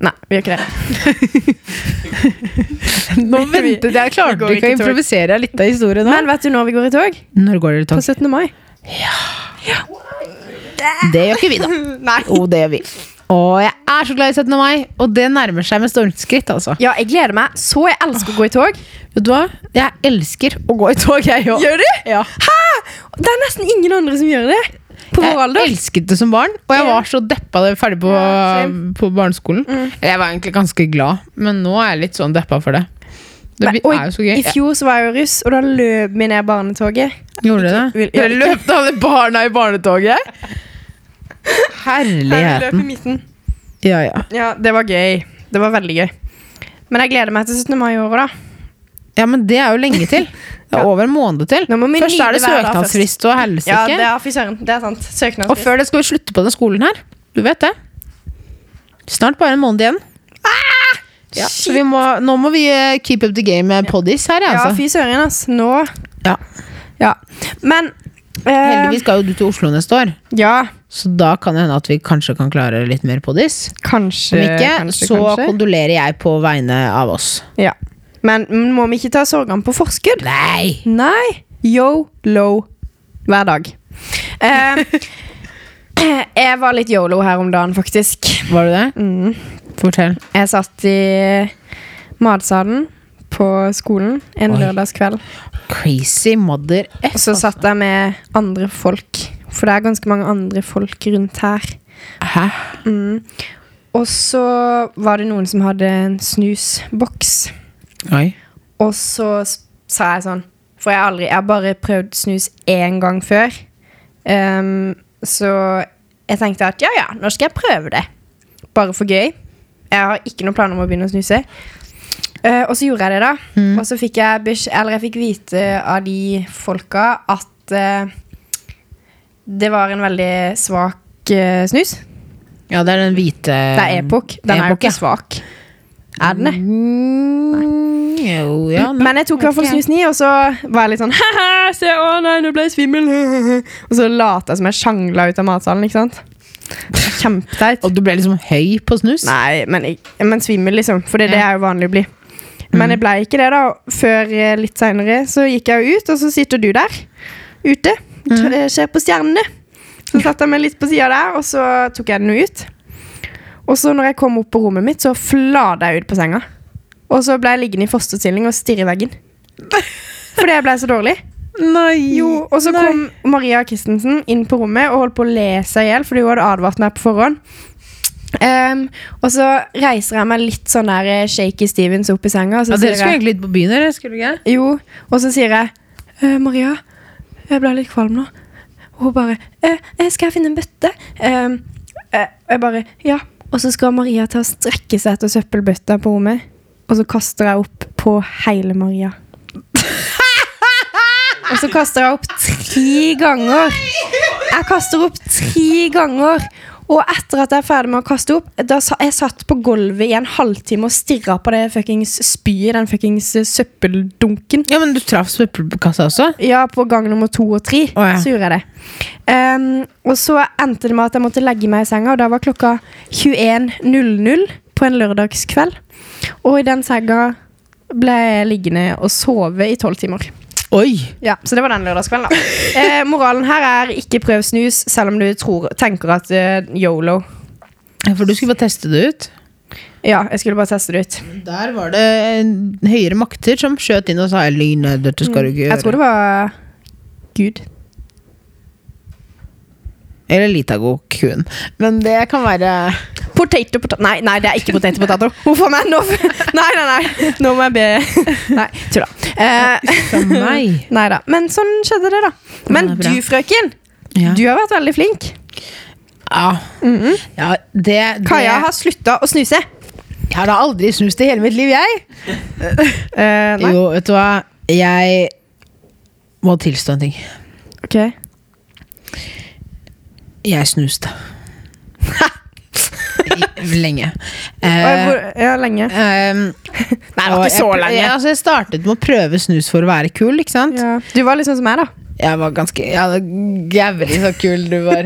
A: Nei, vi gjør ikke det.
B: Nå
A: ventet
B: jeg.
A: klarte ikke å
B: improvisere litt av historien
A: Men vet du når vi går i tog?
B: Når går dere i
A: På
B: tog?
A: 17. mai.
B: Det gjør ikke vi, da.
A: Nei.
B: Jo, det gjør vi. Å, jeg er så glad i 17. mai, og det nærmer seg med stormskritt, altså.
A: Ja, jeg gleder meg. Så jeg elsker å gå i tog.
B: Vet du hva? Jeg elsker å gå i tog, jeg òg.
A: Gjør du? Hæ? Det er nesten ingen andre som gjør det. På vår
B: Jeg
A: alder.
B: elsket det som barn, og jeg var så deppa da jeg var ferdig på,
A: Ja, same. Mm.
B: på barneskolen. Jeg var egentlig ganske glad, men nå er jeg litt sånn deppa for det. Det
A: Nei,
B: blir-
A: og
B: er jo så gøy.
A: I fjor så var jeg jo russ, og da løp vi ned barnetoget.
B: Gjorde dere det?
A: vil- ja,
B: Dere løp til alle barna i barnetoget?
A: Nei, vi løp
B: Herligheten.
A: i midten.
B: Ja, ja.
A: Ja, det var gøy. Det var veldig gøy. Men jeg gleder meg til 17. mai i år òg, da.
B: ja, men det er jo lenge til. Det er over en måned til.
A: Nå må vi
B: Først er det
A: nyte hver dag først.
B: søknadsfrist og
A: Ja, det
B: helsike.
A: er fy søren. Det er sant.
B: Og
A: Søknadsfrist.
B: før det skal vi slutte på den skolen her. Du vet det. Snart bare en måned igjen.
A: Ah!
B: Ja, så vi må, nå må vi eh, keep up the game med poddies her,
A: Ja,
B: altså.
A: fy søren, ass. Nå
B: Ja.
A: Ja. Men eh,
B: Heldigvis skal jo du til Oslo neste år,
A: Ja,
B: så da kan det hende at vi kanskje kan klare litt mer poddies.
A: kanskje.
B: Om ikke,
A: kanskje,
B: så
A: kanskje.
B: kondolerer jeg på vegne av oss.
A: Ja. Men men må vi ikke ta sorgene på forskudd?
B: Nei!
A: Nei. Yo-low hver dag. Eh, jeg var litt yolo her om dagen, faktisk.
B: Var du det?
A: Mm.
B: Fortell.
A: Jeg satt i matsalen på skolen en
B: Oi.
A: lørdagskveld.
B: Crazy mother F.
A: Og så satt jeg med andre folk, for det er ganske mange andre folk rundt her.
B: Hæ?
A: Mm. Og så var det noen som hadde en snusboks,
B: Oi.
A: og så s- sa jeg sånn For jeg har aldri Jeg har bare prøvd snus én gang før. Ehm, så jeg tenkte at ja, ja, nå skal jeg prøve det. Bare for gøy. Jeg har ikke noen planer om å begynne å snuse. Eh, og så gjorde jeg det, da. Og så fikk jeg, besk- eller jeg fikk vite av de folka at eh, det var en veldig svak eh, snus.
B: Ja, det er den hvite
A: Det er Epoch. Den er jo
B: Epoch, Ehm, ja.
A: ikke svak. Er den det?
B: Mm, jo, ja.
A: Men jeg tok i hvert fall snusen i, og så var jeg litt sånn «Haha, se, å nei, nå ble jeg svimmel. Og så lata jeg som jeg sjangla ut av matsalen, ikke sant. Det er Kjempeteit.
B: Og du ble liksom høy på snus?
A: Nei, men, ik- men svimmel, liksom. For det er det jeg jo vanlig blir. Men jeg ble ikke det, da. Før eh, litt seinere så gikk jeg jo ut, og så sitter du der ute. Tr- eh, Ser på stjernene. Så satte jeg meg litt på sida der, og så tok jeg den jo ut. Og så når jeg kom opp på rommet mitt, så flada jeg ut på senga. Og så ble jeg liggende i fosterstilling og stirre i veggen. Fordi jeg ble så dårlig.
B: Nei.
A: Jo, og så kom Maria Christensen inn på rommet og holdt på å le seg i hjel, fordi hun hadde advart meg på forhånd. Ehm, og så reiser jeg meg litt sånn der eh, shaky Stevens opp i senga, og så
B: ja,
A: sier
B: Dere skulle
A: jeg
B: egentlig ut på byen, eller? Skulle dere ikke?
A: Jo, og så sier jeg «Eh, Maria, jeg ble litt kvalm nå. Og hun bare «Eh, eh, Skal jeg finne en bøtte? Ehm, eh, og jeg bare Ja. Og så skal Maria til å strekke seg etter søppelbøtta på rommet, og så kaster jeg opp på hele Maria. Og så kaster jeg opp tre ganger. Jeg kaster opp tre ganger. Og etter at jeg er ferdig med å kaste opp da sa, Jeg satt på gulvet i en halvtime og stirra på det fuckings spyet, den fuckings eh, søppeldunken.
B: Ja, men du traff søppelkassa også?
A: Ja, på gang nummer to og tre.
B: Å, ja.
A: Så gjorde jeg det. Ehm, og så endte det med at jeg måtte legge meg i senga, og da var klokka 21.00 på en lørdagskveld. Og i den senga ble jeg liggende og sove i tolv timer.
B: Oi!
A: Ja, Så det var den lørdagskvelden, da. Eh, moralen her er ikke prøv snus, selv om du tror, tenker at eh, yolo.
B: Ja, For du skulle bare teste det ut?
A: Ja, jeg skulle bare teste det ut.
B: Der var det eh, høyere makter som skjøt inn og sa Elin, dette skal du ikke
A: Mm,
B: gjøre.
A: Jeg tror det var Gud.
B: Eller Litago-kuen. Men det kan være
A: Potato, potato Nei, nei, det er ikke potato, potato. Hvorfor meg nå? Nei, nei, nei. Nå må jeg be Nei, tulla. Eh,
B: Fra meg.
A: nei da. Men sånn skjedde det, da. Men
B: Ja, det er bra.
A: du, frøken,
B: Ja.
A: du har vært veldig flink.
B: Ja. ja, det, det
A: Kaja har slutta å snuse.
B: Jeg har da aldri snust i hele mitt liv, jeg.
A: Eh, nei.
B: Jo, vet du hva? Jeg må tilstå en ting.
A: Ok.
B: Jeg snuste. I- Lenge. Eh,
A: Oi, hvor- Ja, lenge.
B: ehm,
A: Nei, det var
B: og
A: ikke så
B: jeg,
A: lenge.
B: Jeg, altså, jeg startet med å prøve snus for å være kul, ikke sant?
A: Ja. Du var litt sånn som meg, da.
B: Jeg var ganske ja, Gævlig så kul du var.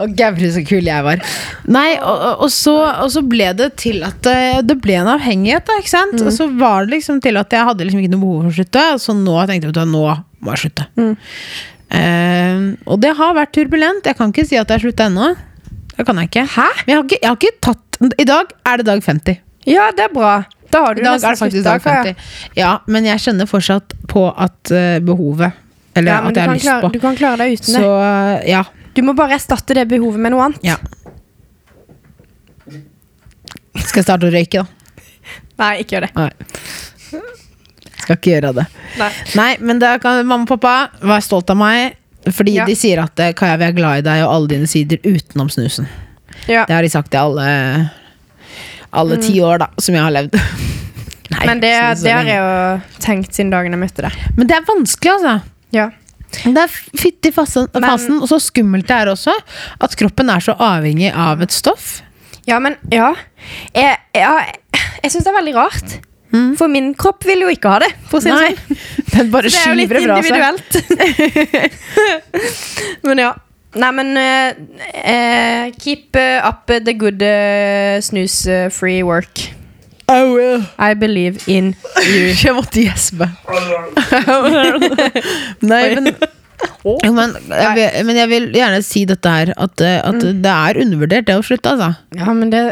B: Og gævlig så kul jeg var. Nei, og, og- og, så, og så ble det til at eh, det ble en avhengighet, da. ikke sant? Og
A: Mm.
B: så var det liksom til at jeg hadde liksom ikke noe behov for å slutte. Så nå tenkte jeg at nå må jeg slutte.
A: Mm.
B: Eh, og det har vært turbulent. Jeg kan ikke si at jeg har slutta ennå. Det kan jeg ikke. Men jeg har ikke, jeg har ikke tatt I dag er det dag 50.
A: Ja, det er bra. Da har du
B: I dag
A: nesten
B: er det faktisk
A: slutta,
B: dag 50. Ja, men jeg kjenner fortsatt på at eh, behovet Eller
A: Ja, men
B: at
A: du
B: jeg har
A: kan,
B: lyst
A: klare,
B: på.
A: du kan klare deg uten
B: Så ja.
A: det. Du må bare erstatte det behovet med noe annet.
B: ja. Skal jeg starte å røyke, da?
A: Nei, ikke gjør det.
B: Nei. Skal ikke gjøre det.
A: Nei.
B: Nei, men da kan mamma og pappa være stolt av meg. Fordi
A: Ja.
B: de sier at eh, Kaja, vi er glad i deg og alle dine sider utenom snusen.
A: Ja. Mm.
B: Det har de sagt til alle Alle ti år da som jeg har levd. Nei,
A: Men det,
B: snus så
A: det har
B: lenge.
A: jeg jo tenkt siden dagen jeg møtte deg.
B: Men det er vanskelig, altså.
A: Ja.
B: Det er fytti fasen,
A: Men-
B: fasen, og så skummelt det er også. At kroppen er så avhengig av et stoff.
A: Ja, men ja. Jeg, ja, jeg syns det er veldig rart. For min kropp vil jo ikke ha det. For å si det,
B: Nei,
A: sånn.
B: den bare
A: det er jo litt
B: skyver Mm. det fra seg.
A: individuelt. men ja. Nei, men eh, eh, Keep eh, up the good eh, snus eh, free work.
B: Oh, well.
A: I believe in
B: Jeg måtte gjespe. Nei, men Jo, men jeg, vil, men jeg vil gjerne si dette her, at, eh, at det er undervurdert, det å slutte, altså.
A: Ja, men det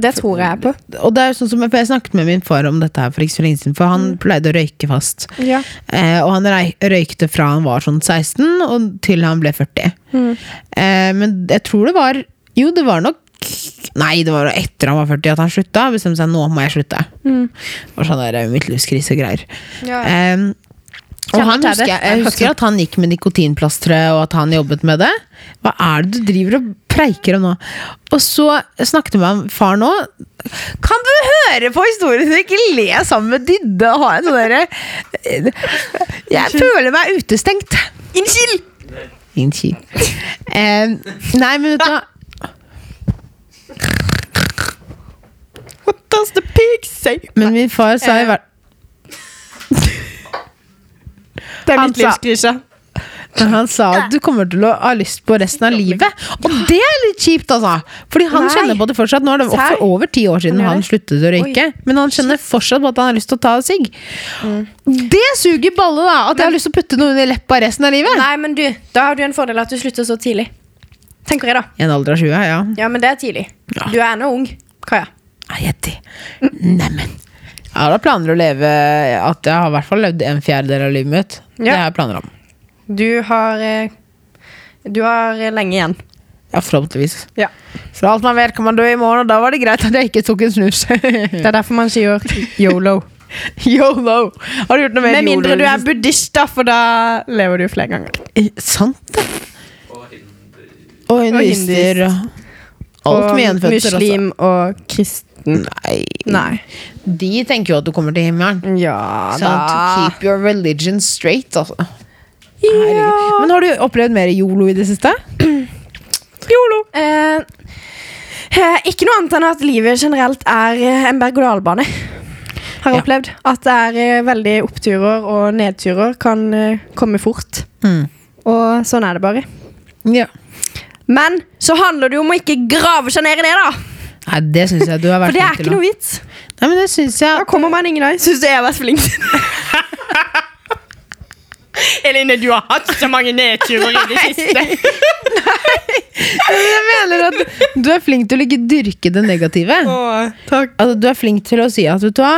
A: Det tror jeg på.
B: Og det er jo sånn som, for Jeg snakket med min far om dette her for ikke så lenge siden, for han pleide å røyke fast.
A: Ja.
B: Eh, og han røy- røykte fra han var sånn 16 og til han ble 40. Eh, men jeg tror det var Jo, det var nok Nei, det var etter han var 40 at han slutta. Bestemte seg nå må jeg slutte. Og sånn der midtlivskrise og greier.
A: Ja.
B: Eh, og
A: Kjenner
B: han
A: til
B: husker,
A: det.
B: jeg, jeg husker at han gikk med nikotinplastre, og at han jobbet med det. Hva er det du driver og preiker om nå? Og så snakket jeg med han- far nå. Kan du høre på historien din, ikke le sammen med Didde og ha en sånn derre Jeg føler meg utestengt.
A: Unnskyld!
B: Inchi. Eh, nei, men vet du hva?
A: What does the pig say?
B: Men min far sa i hvert
A: Det er
B: Han
A: mitt
B: sa-
A: livskrise.
B: Men han sa at du kommer til å ha lyst på resten av livet. Og det er litt kjipt, altså! Fordi han
A: Nei.
B: kjenner på det fortsatt. Nå er det
A: Serr?
B: for over ti år siden
A: Han gjør
B: han
A: det.
B: sluttet å røyke. Men han kjenner fortsatt på at han har lyst til å ta sigg.
A: Mm.
B: Det suger balle, da! At jeg har lyst til å putte noe under leppa resten av livet.
A: Nei, men du, da har du en fordel at du slutter så tidlig. Tenker jeg, da.
B: I en alder av 20, ja.
A: Ja, men det er tidlig.
B: Ja.
A: Du er ennå ung, Kaja.
B: Nei, Jetty. Neimen. Jeg har da planer å leve At jeg har i hvert fall levd en fjerdedel av livet mitt. Det
A: Ja.
B: har jeg planer om.
A: Du har eh, Du har eh, lenge igjen.
B: Ja, forhåpentligvis.
A: Ja.
B: For alt man vet, kan man dø i morgen, og da var det greit at jeg ikke tok en snus.
A: Det er derfor man sier yolo.
B: Yolo! Har du gjort noe mer
A: Med mindre du
B: yolo?
A: er buddhist, da, for da lever du flere ganger.
B: Eh, Sant det.
C: Og hinder-
B: Og
A: hinduist.
B: hinduister. Alt med altså.
A: og
B: gjenfødter,
A: muslim og kristen.
B: altså. Nei.
A: Nei.
B: De tenker jo at du kommer til himmelen.
A: Ja
B: Sant? Keep your religion straight, altså.
A: Ja.
B: Herregud. Men har du opplevd mer yolo i det siste?
A: Yolo. Eh, eh, ikke noe annet enn at livet generelt er eh, en berg-og-dal-bane. Har jeg
B: Ja.
A: opplevd. At det er eh, veldig oppturer og nedturer kan eh, komme fort. Og sånn er det bare.
B: Ja.
A: Men så handler det jo om å ikke grave seg ned i det, da.
B: Nei, det syns jeg du har
A: For
B: vært
A: det er
B: flink til
A: ikke
B: å-
A: noe vits.
B: Nei, men det syns jeg
A: Da kommer man ingen vei. Syns du jeg har vært flink? Eline, du har hatt så mange nedturer i det siste.
B: Jeg mener at du er flink til å ikke dyrke det negative.
A: takk.
B: Altså, du er flink til å si at vet du hva,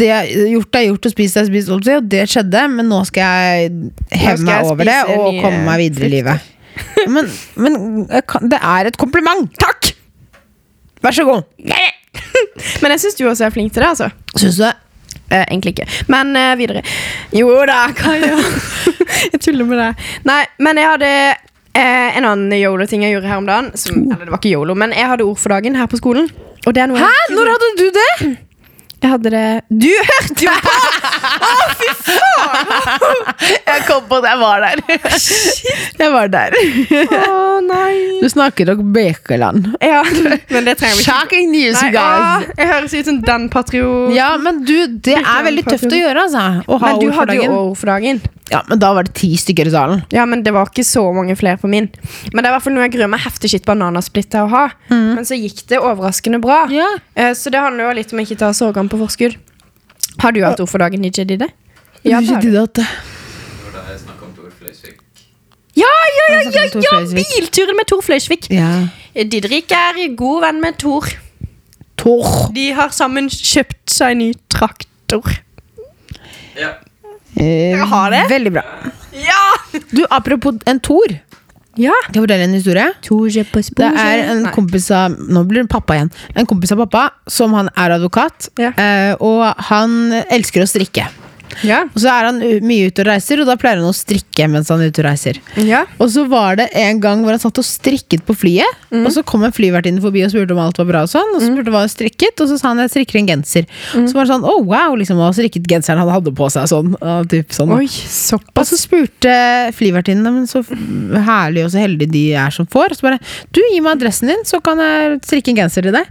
B: det er gjort er gjort, og spist er spist, holdt jeg på å si, og det skjedde, men nå skal jeg
A: Nå
B: heve
A: skal jeg
B: meg over det
A: spise
B: og
A: mye
B: komme meg videre i livet. Men, men jeg kan- det er et kompliment!
A: Takk!
B: Vær så god!
A: Men jeg syns du også er flink til det, altså.
B: Syns du det?
A: Eh, egentlig ikke. Men eh, videre. Jo da, Kaja. jeg tuller med deg. Nei, men jeg hadde eh, en annen yolo-ting jeg gjorde her om dagen. Som, eller det var ikke yolo, men jeg hadde ord for dagen her på skolen. Og det er noe
B: Hæ? Når hadde du det?
A: Jeg hadde det Du hørte jo på!
B: Jeg kom på at jeg var der. Jeg var der.
A: Å nei.
B: Du snakker nok Bekeland.
A: Ja, men det trenger vi ikke.
B: Shocking news,
A: Nei, ah.
B: you
A: å,
B: guys.
A: jeg høres ut som den patriot...
B: Ja, men du, det er veldig tøft å gjøre, altså. Å ha
A: men du
B: ord for
A: hadde jo
B: dagen.
A: ord for dagen.
B: Ja, men da var det ti stykker i salen.
A: Ja, men Det var ikke så mange flere på min. Men det er i hvert fall noe jeg gruer meg heftig shit bananasplitt til å ha. Men så gikk det overraskende bra.
B: Ja.
A: Eh, Så det handler jo litt om å ikke ta sorgene på forskudd. Har du hatt ord for dagen, Nijay Didde? Ja, det har du.
C: Det var da jeg snakket om Tor Fløysvik.
A: ja, ja, ja,
B: Jeg
A: ja,
B: snakket om Tor
A: ja,
B: Fløysvik.
A: bilturen med Tor Fløysvik. Eh,
B: Ja.
A: Didrik er god venn med Tor.
B: Tor.
A: De har sammen kjøpt seg ny traktor.
C: Ja.
B: Eh,
A: Jeg har det.
B: Veldig bra.
A: Ja!
B: Du, Apropos en Tor.
A: ja.
B: Skal jeg fortelle en historie? Det er en
A: Nei.
B: kompis av Nå blir det pappa igjen. En kompis av pappa som han er advokat,
A: Ja.
B: eh, og han elsker å strikke.
A: Ja.
B: Og så er han u- mye ute og reiser, og da pleier han å strikke mens han er ute og reiser.
A: ja.
B: Og så var det en gang hvor han satt og strikket på flyet.
A: Mm.
B: Og så kom en flyvertinne forbi og spurte om alt var bra. Og sånn Og så spurte hva han strikket Og så sa han jeg strikker en genser.
A: Mm.
B: Så var det sånn, oh wow, liksom, og strikket genseren han hadde på seg. Sånn, og typ sånn
A: Oi, såpass.
B: Og så spurte flyvertinnene Men så herlig og så heldige de er som får. Og så bare Du, gi meg adressen din, så kan jeg strikke en genser til deg.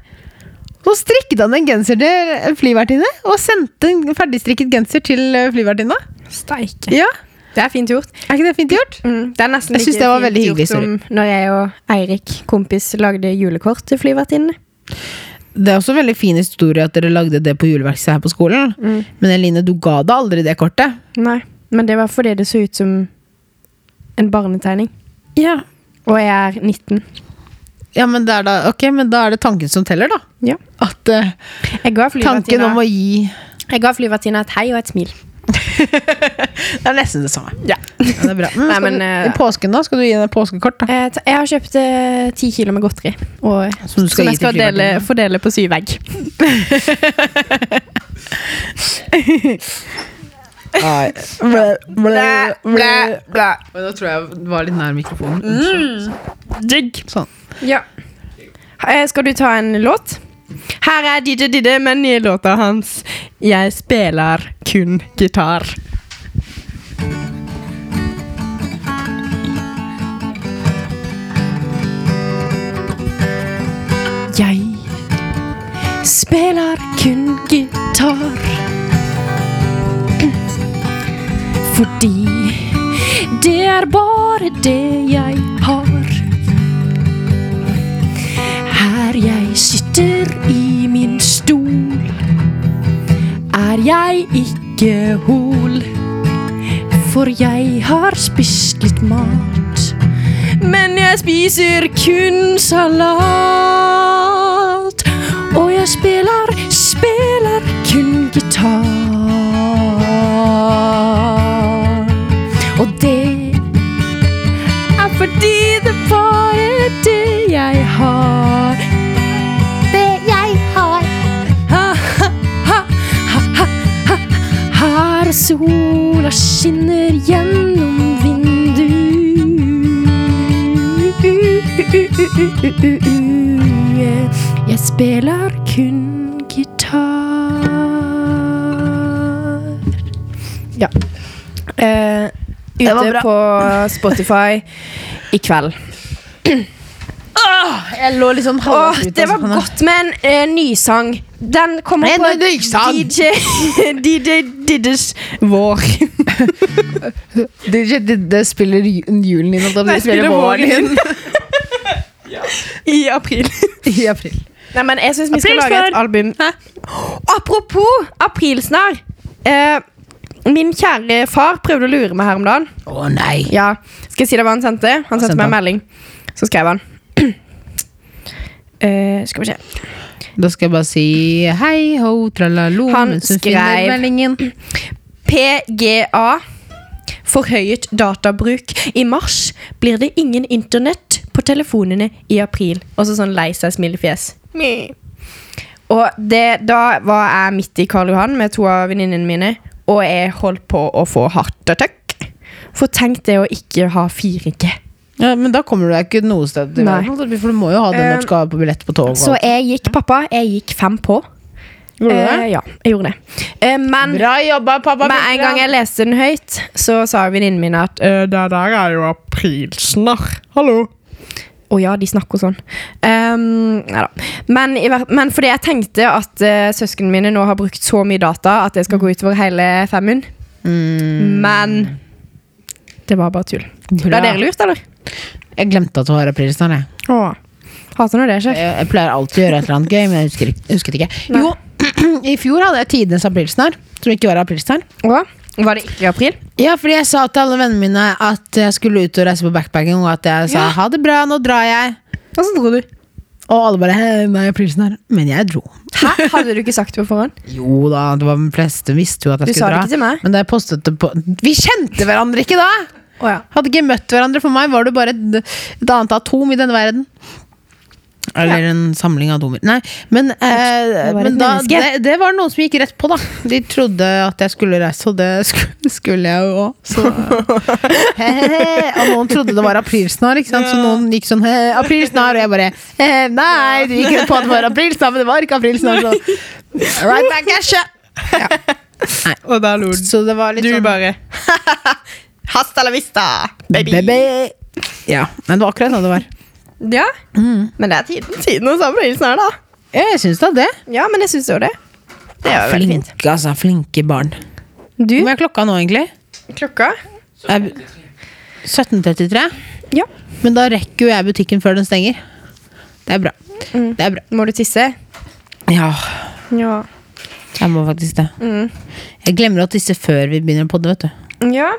B: Så strikket han en genser til en flyvertinne, og sendte en ferdigstrikket genser til eh, flyvertinna.
A: Steike.
B: Ja,
A: Det er fint gjort.
B: Er ikke det fint gjort?
A: Mm, det er nesten
B: Jeg
A: like
B: synes det var
A: fint
B: veldig
A: gjort
B: hyggelig,
A: som når jeg og Eirik, kompis, lagde julekort til flyvertinnene.
B: Det er også en veldig fin historie at dere lagde det på juleverkstedet her på skolen.
A: Mm.
B: Men Eline, du ga da aldri det kortet.
A: Nei, men det var fordi det så ut som en barnetegning.
B: Ja.
A: Og jeg er 19.
B: Ja, men, det er da, ok, men da er det tanken som teller, da.
A: Ja.
B: At eh,
A: Jeg ga
B: tanken
A: flyvertinna
B: om å gi
A: Jeg ga flyvertinna et hei og et smil.
B: Det er nesten det samme.
A: Ja.
B: Ja, det er bra. Men,
A: Nei,
B: skal
A: men,
B: du,
A: eh,
B: I påsken, da? Skal du gi henne påskekort? da?
A: Eh, ta- Jeg har kjøpt eh, ti kilo med godteri. Og,
B: Som du skal
A: som
B: gi
A: jeg skal
B: til
A: dele,
B: flyvertinna.
A: fordele på syv egg.
B: Blæ, Nå tror jeg det var litt nær mikrofonen.
A: Mm.
B: Digg. Sånn.
A: Ja. Eh, Skal du ta en låt? Her er DJ Didde med nye låta hans. Jeg spiller kun gitar. Jeg spiller kun gitar. Fordi det er bare det jeg har. Her jeg sitter i min stol, er jeg ikke hol. For jeg har spist litt mat, men jeg spiser kun salat. Og jeg spiller, spiller kun gitar. Og det er fordi det bare er det jeg har. Det jeg har. Ha, ha, ha, ha, ha, ha. Her sola skinner gjennom vinduet. Jeg spiller kun gitar. Ja. Eh,
B: var
A: ute
B: bra.
A: på Spotify i kveld.
B: Jeg lå litt sånn
A: Åh,
B: halvveis ut
A: det
B: av
A: var
B: sofaen, da.
A: godt med en eh, nysang. Den kommer
B: En
A: på
B: nysang.
A: DJ, DJ Diddes vår.
B: Det, det, det spiller ju- julen din, holdt jeg på å si.
A: Nei,
B: det spiller
A: spiller
B: våren
A: våren
B: din
C: Ja.
A: I april.
B: i april.
A: Nei, men jeg syns vi skal
B: Aprilsnarr.
A: lage et album. Apropos aprilsnarr. Eh, min kjære far prøvde å lure meg her om dagen.
B: Å nei.
A: Ja, Skal jeg si deg hva han sendte? Han sendte
B: sendte
A: meg en
B: han?
A: melding. Så skrev han Eh, Skal vi se.
B: Da skal jeg bare si hei ho, tralalo,
A: Han
B: mens hun
A: skrev-
B: finner meldingen.
A: PGA. Forhøyet databruk. I mars blir det ingen internett på telefonene i april. Og så sånn lei seg smilefjes. Meh. Og det, da var jeg midt i Karl Johan med to av venninnene mine, og jeg holdt på å få hardt attack. For tenk det å ikke ha 4G.
B: Ja, men da kommer du deg ikke noe sted. i
A: Nei.
B: verden, holdt jeg på å si, For du må jo ha den når
A: Eh,
B: du skal på billett på tog.
A: Så jeg gikk, pappa, jeg gikk fem på.
B: Gjorde du det?
A: Eh, ja, jeg gjorde det. Eh, men
B: Bra jobba, pappa.
A: Med en gang jeg leste den høyt, så sa venninnen min at «Eh, Det der er jo aprilsnarr. Hallo. Å ja, de snakker sånn. Um, neida. men, i hver- men fordi jeg tenkte at eh, søsknene mine nå har brukt så mye data at det skal gå utover hele Femund. Men det var bare tull.
B: Bra.
A: Ble dere lurt, eller?
B: Jeg glemte at det var aprilsnarr. Jeg.
A: Å. Hater når det skjer.
B: Eh, Jeg, jeg pleier alltid å gjøre et eller annet gøy, men jeg husker, ikke- husket ikke.
A: Nei.
B: Jo, i fjor hadde jeg tidenes aprilsnarr, som ikke var aprilsnarr.
A: Og, var det ikke i april?
B: Ja, fordi jeg sa til alle vennene mine at jeg skulle ut og reise på backpacking, og at jeg sa
A: Ja.
B: ha det bra, nå drar jeg.
A: Hva dro du?
B: Og alle bare «Hei, nei, aprilsnarr. Men jeg dro.
A: Hæ? Hadde du ikke sagt det på forhånd?
B: Jo da, det var de fleste visste jo at
A: Du
B: jeg
A: sa
B: skulle
A: det
B: dra.
A: ikke til meg.
B: Men da jeg postet det på Vi kjente hverandre ikke da!
A: Å ja.
B: Hadde ikke møtt hverandre. For meg var det bare et, et annet atom i denne verden. Eller en samling atomer. Nei, men, eh,
A: Det var et
B: men da, det,
A: menneske.
B: det var noen som gikk rett på, da. De trodde at jeg skulle reise, og det skulle, skulle jeg jo òg. Så Hehehe. Og noen trodde det var aprilsnarr, ikke sant? så noen gikk sånn «He, aprilsnarr, og jeg bare «He, Nei, de gikk rett på at det var aprilsnarr, men det var ikke aprilsnarr. Så right back, asje!
A: Og da lo
B: Så det var litt
A: Du
B: sånn
A: bare Hasta la vista, baby.
B: Ja, men det var akkurat sånn det var.
A: Ja, men det er tiden, tiden hos aprilsen her, da.
B: Ja, jeg syns da det.
A: Ja, men jeg syns jo det. Det er jo veldig fint.
B: Flinke, altså. Flinke barn.
A: Du,
B: Hvor er klokka nå, egentlig?
A: klokka?
B: Er- 17.33.
A: Ja.
B: Men da rekker jo jeg butikken før den stenger. Det er bra.
A: Mm.
B: Det er bra.
A: Må du tisse?
B: Ja,
A: Ja. Mm.
B: jeg må faktisk det. Jeg glemmer å tisse før vi begynner å podde, vet du.
A: Ja.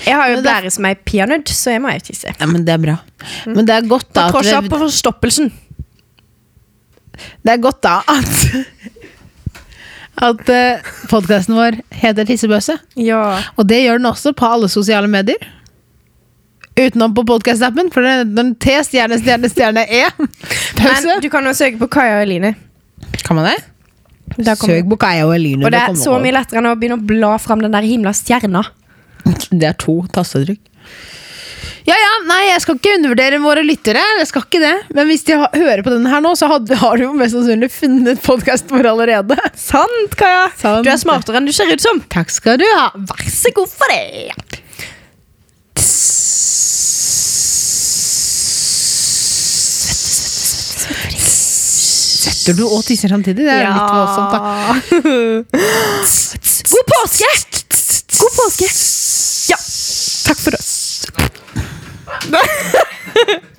A: Jeg har jo
B: Men det-
A: blære som ei peanøtt, så jeg må jo tisse.
B: Ja, men det er bra. Men det er godt
A: Mm.
B: da
A: På
B: at
A: tross av
B: det,
A: forstoppelsen.
B: det er godt da at at uh, podkasten vår heter Tissebøsse.
A: Ja.
B: Og det gjør den også på alle sosiale medier. Utenom på podkast-appen, for den, den T, stjerne, stjerne, stjerne, E. Pause.
A: Men du kan jo søke på Kaja og Eline.
B: Kan man det?
A: Da kommer-
B: Søk på Kaja og Eline.
A: Og det er
B: kommer
A: så
B: opp.
A: mye lettere enn å begynne å bla fram den der himla stjerna.
B: Det er to tastetrykk. Ja, ja, nei, jeg skal ikke undervurdere våre lyttere. Jeg skal ikke det. Men hvis de ha- hører på denne her nå, så had- har du jo mest sannsynlig funnet podkasten vår allerede.
A: Sant, Kaja!
B: Sant.
A: Du er smartere enn du ser ut som.
B: Takk skal du ha.
A: Vær så god for det.
B: Setter du og tisser samtidig? Det er jo litt voldsomt, da.
A: God påske! God påske. Ja. Takk for oss.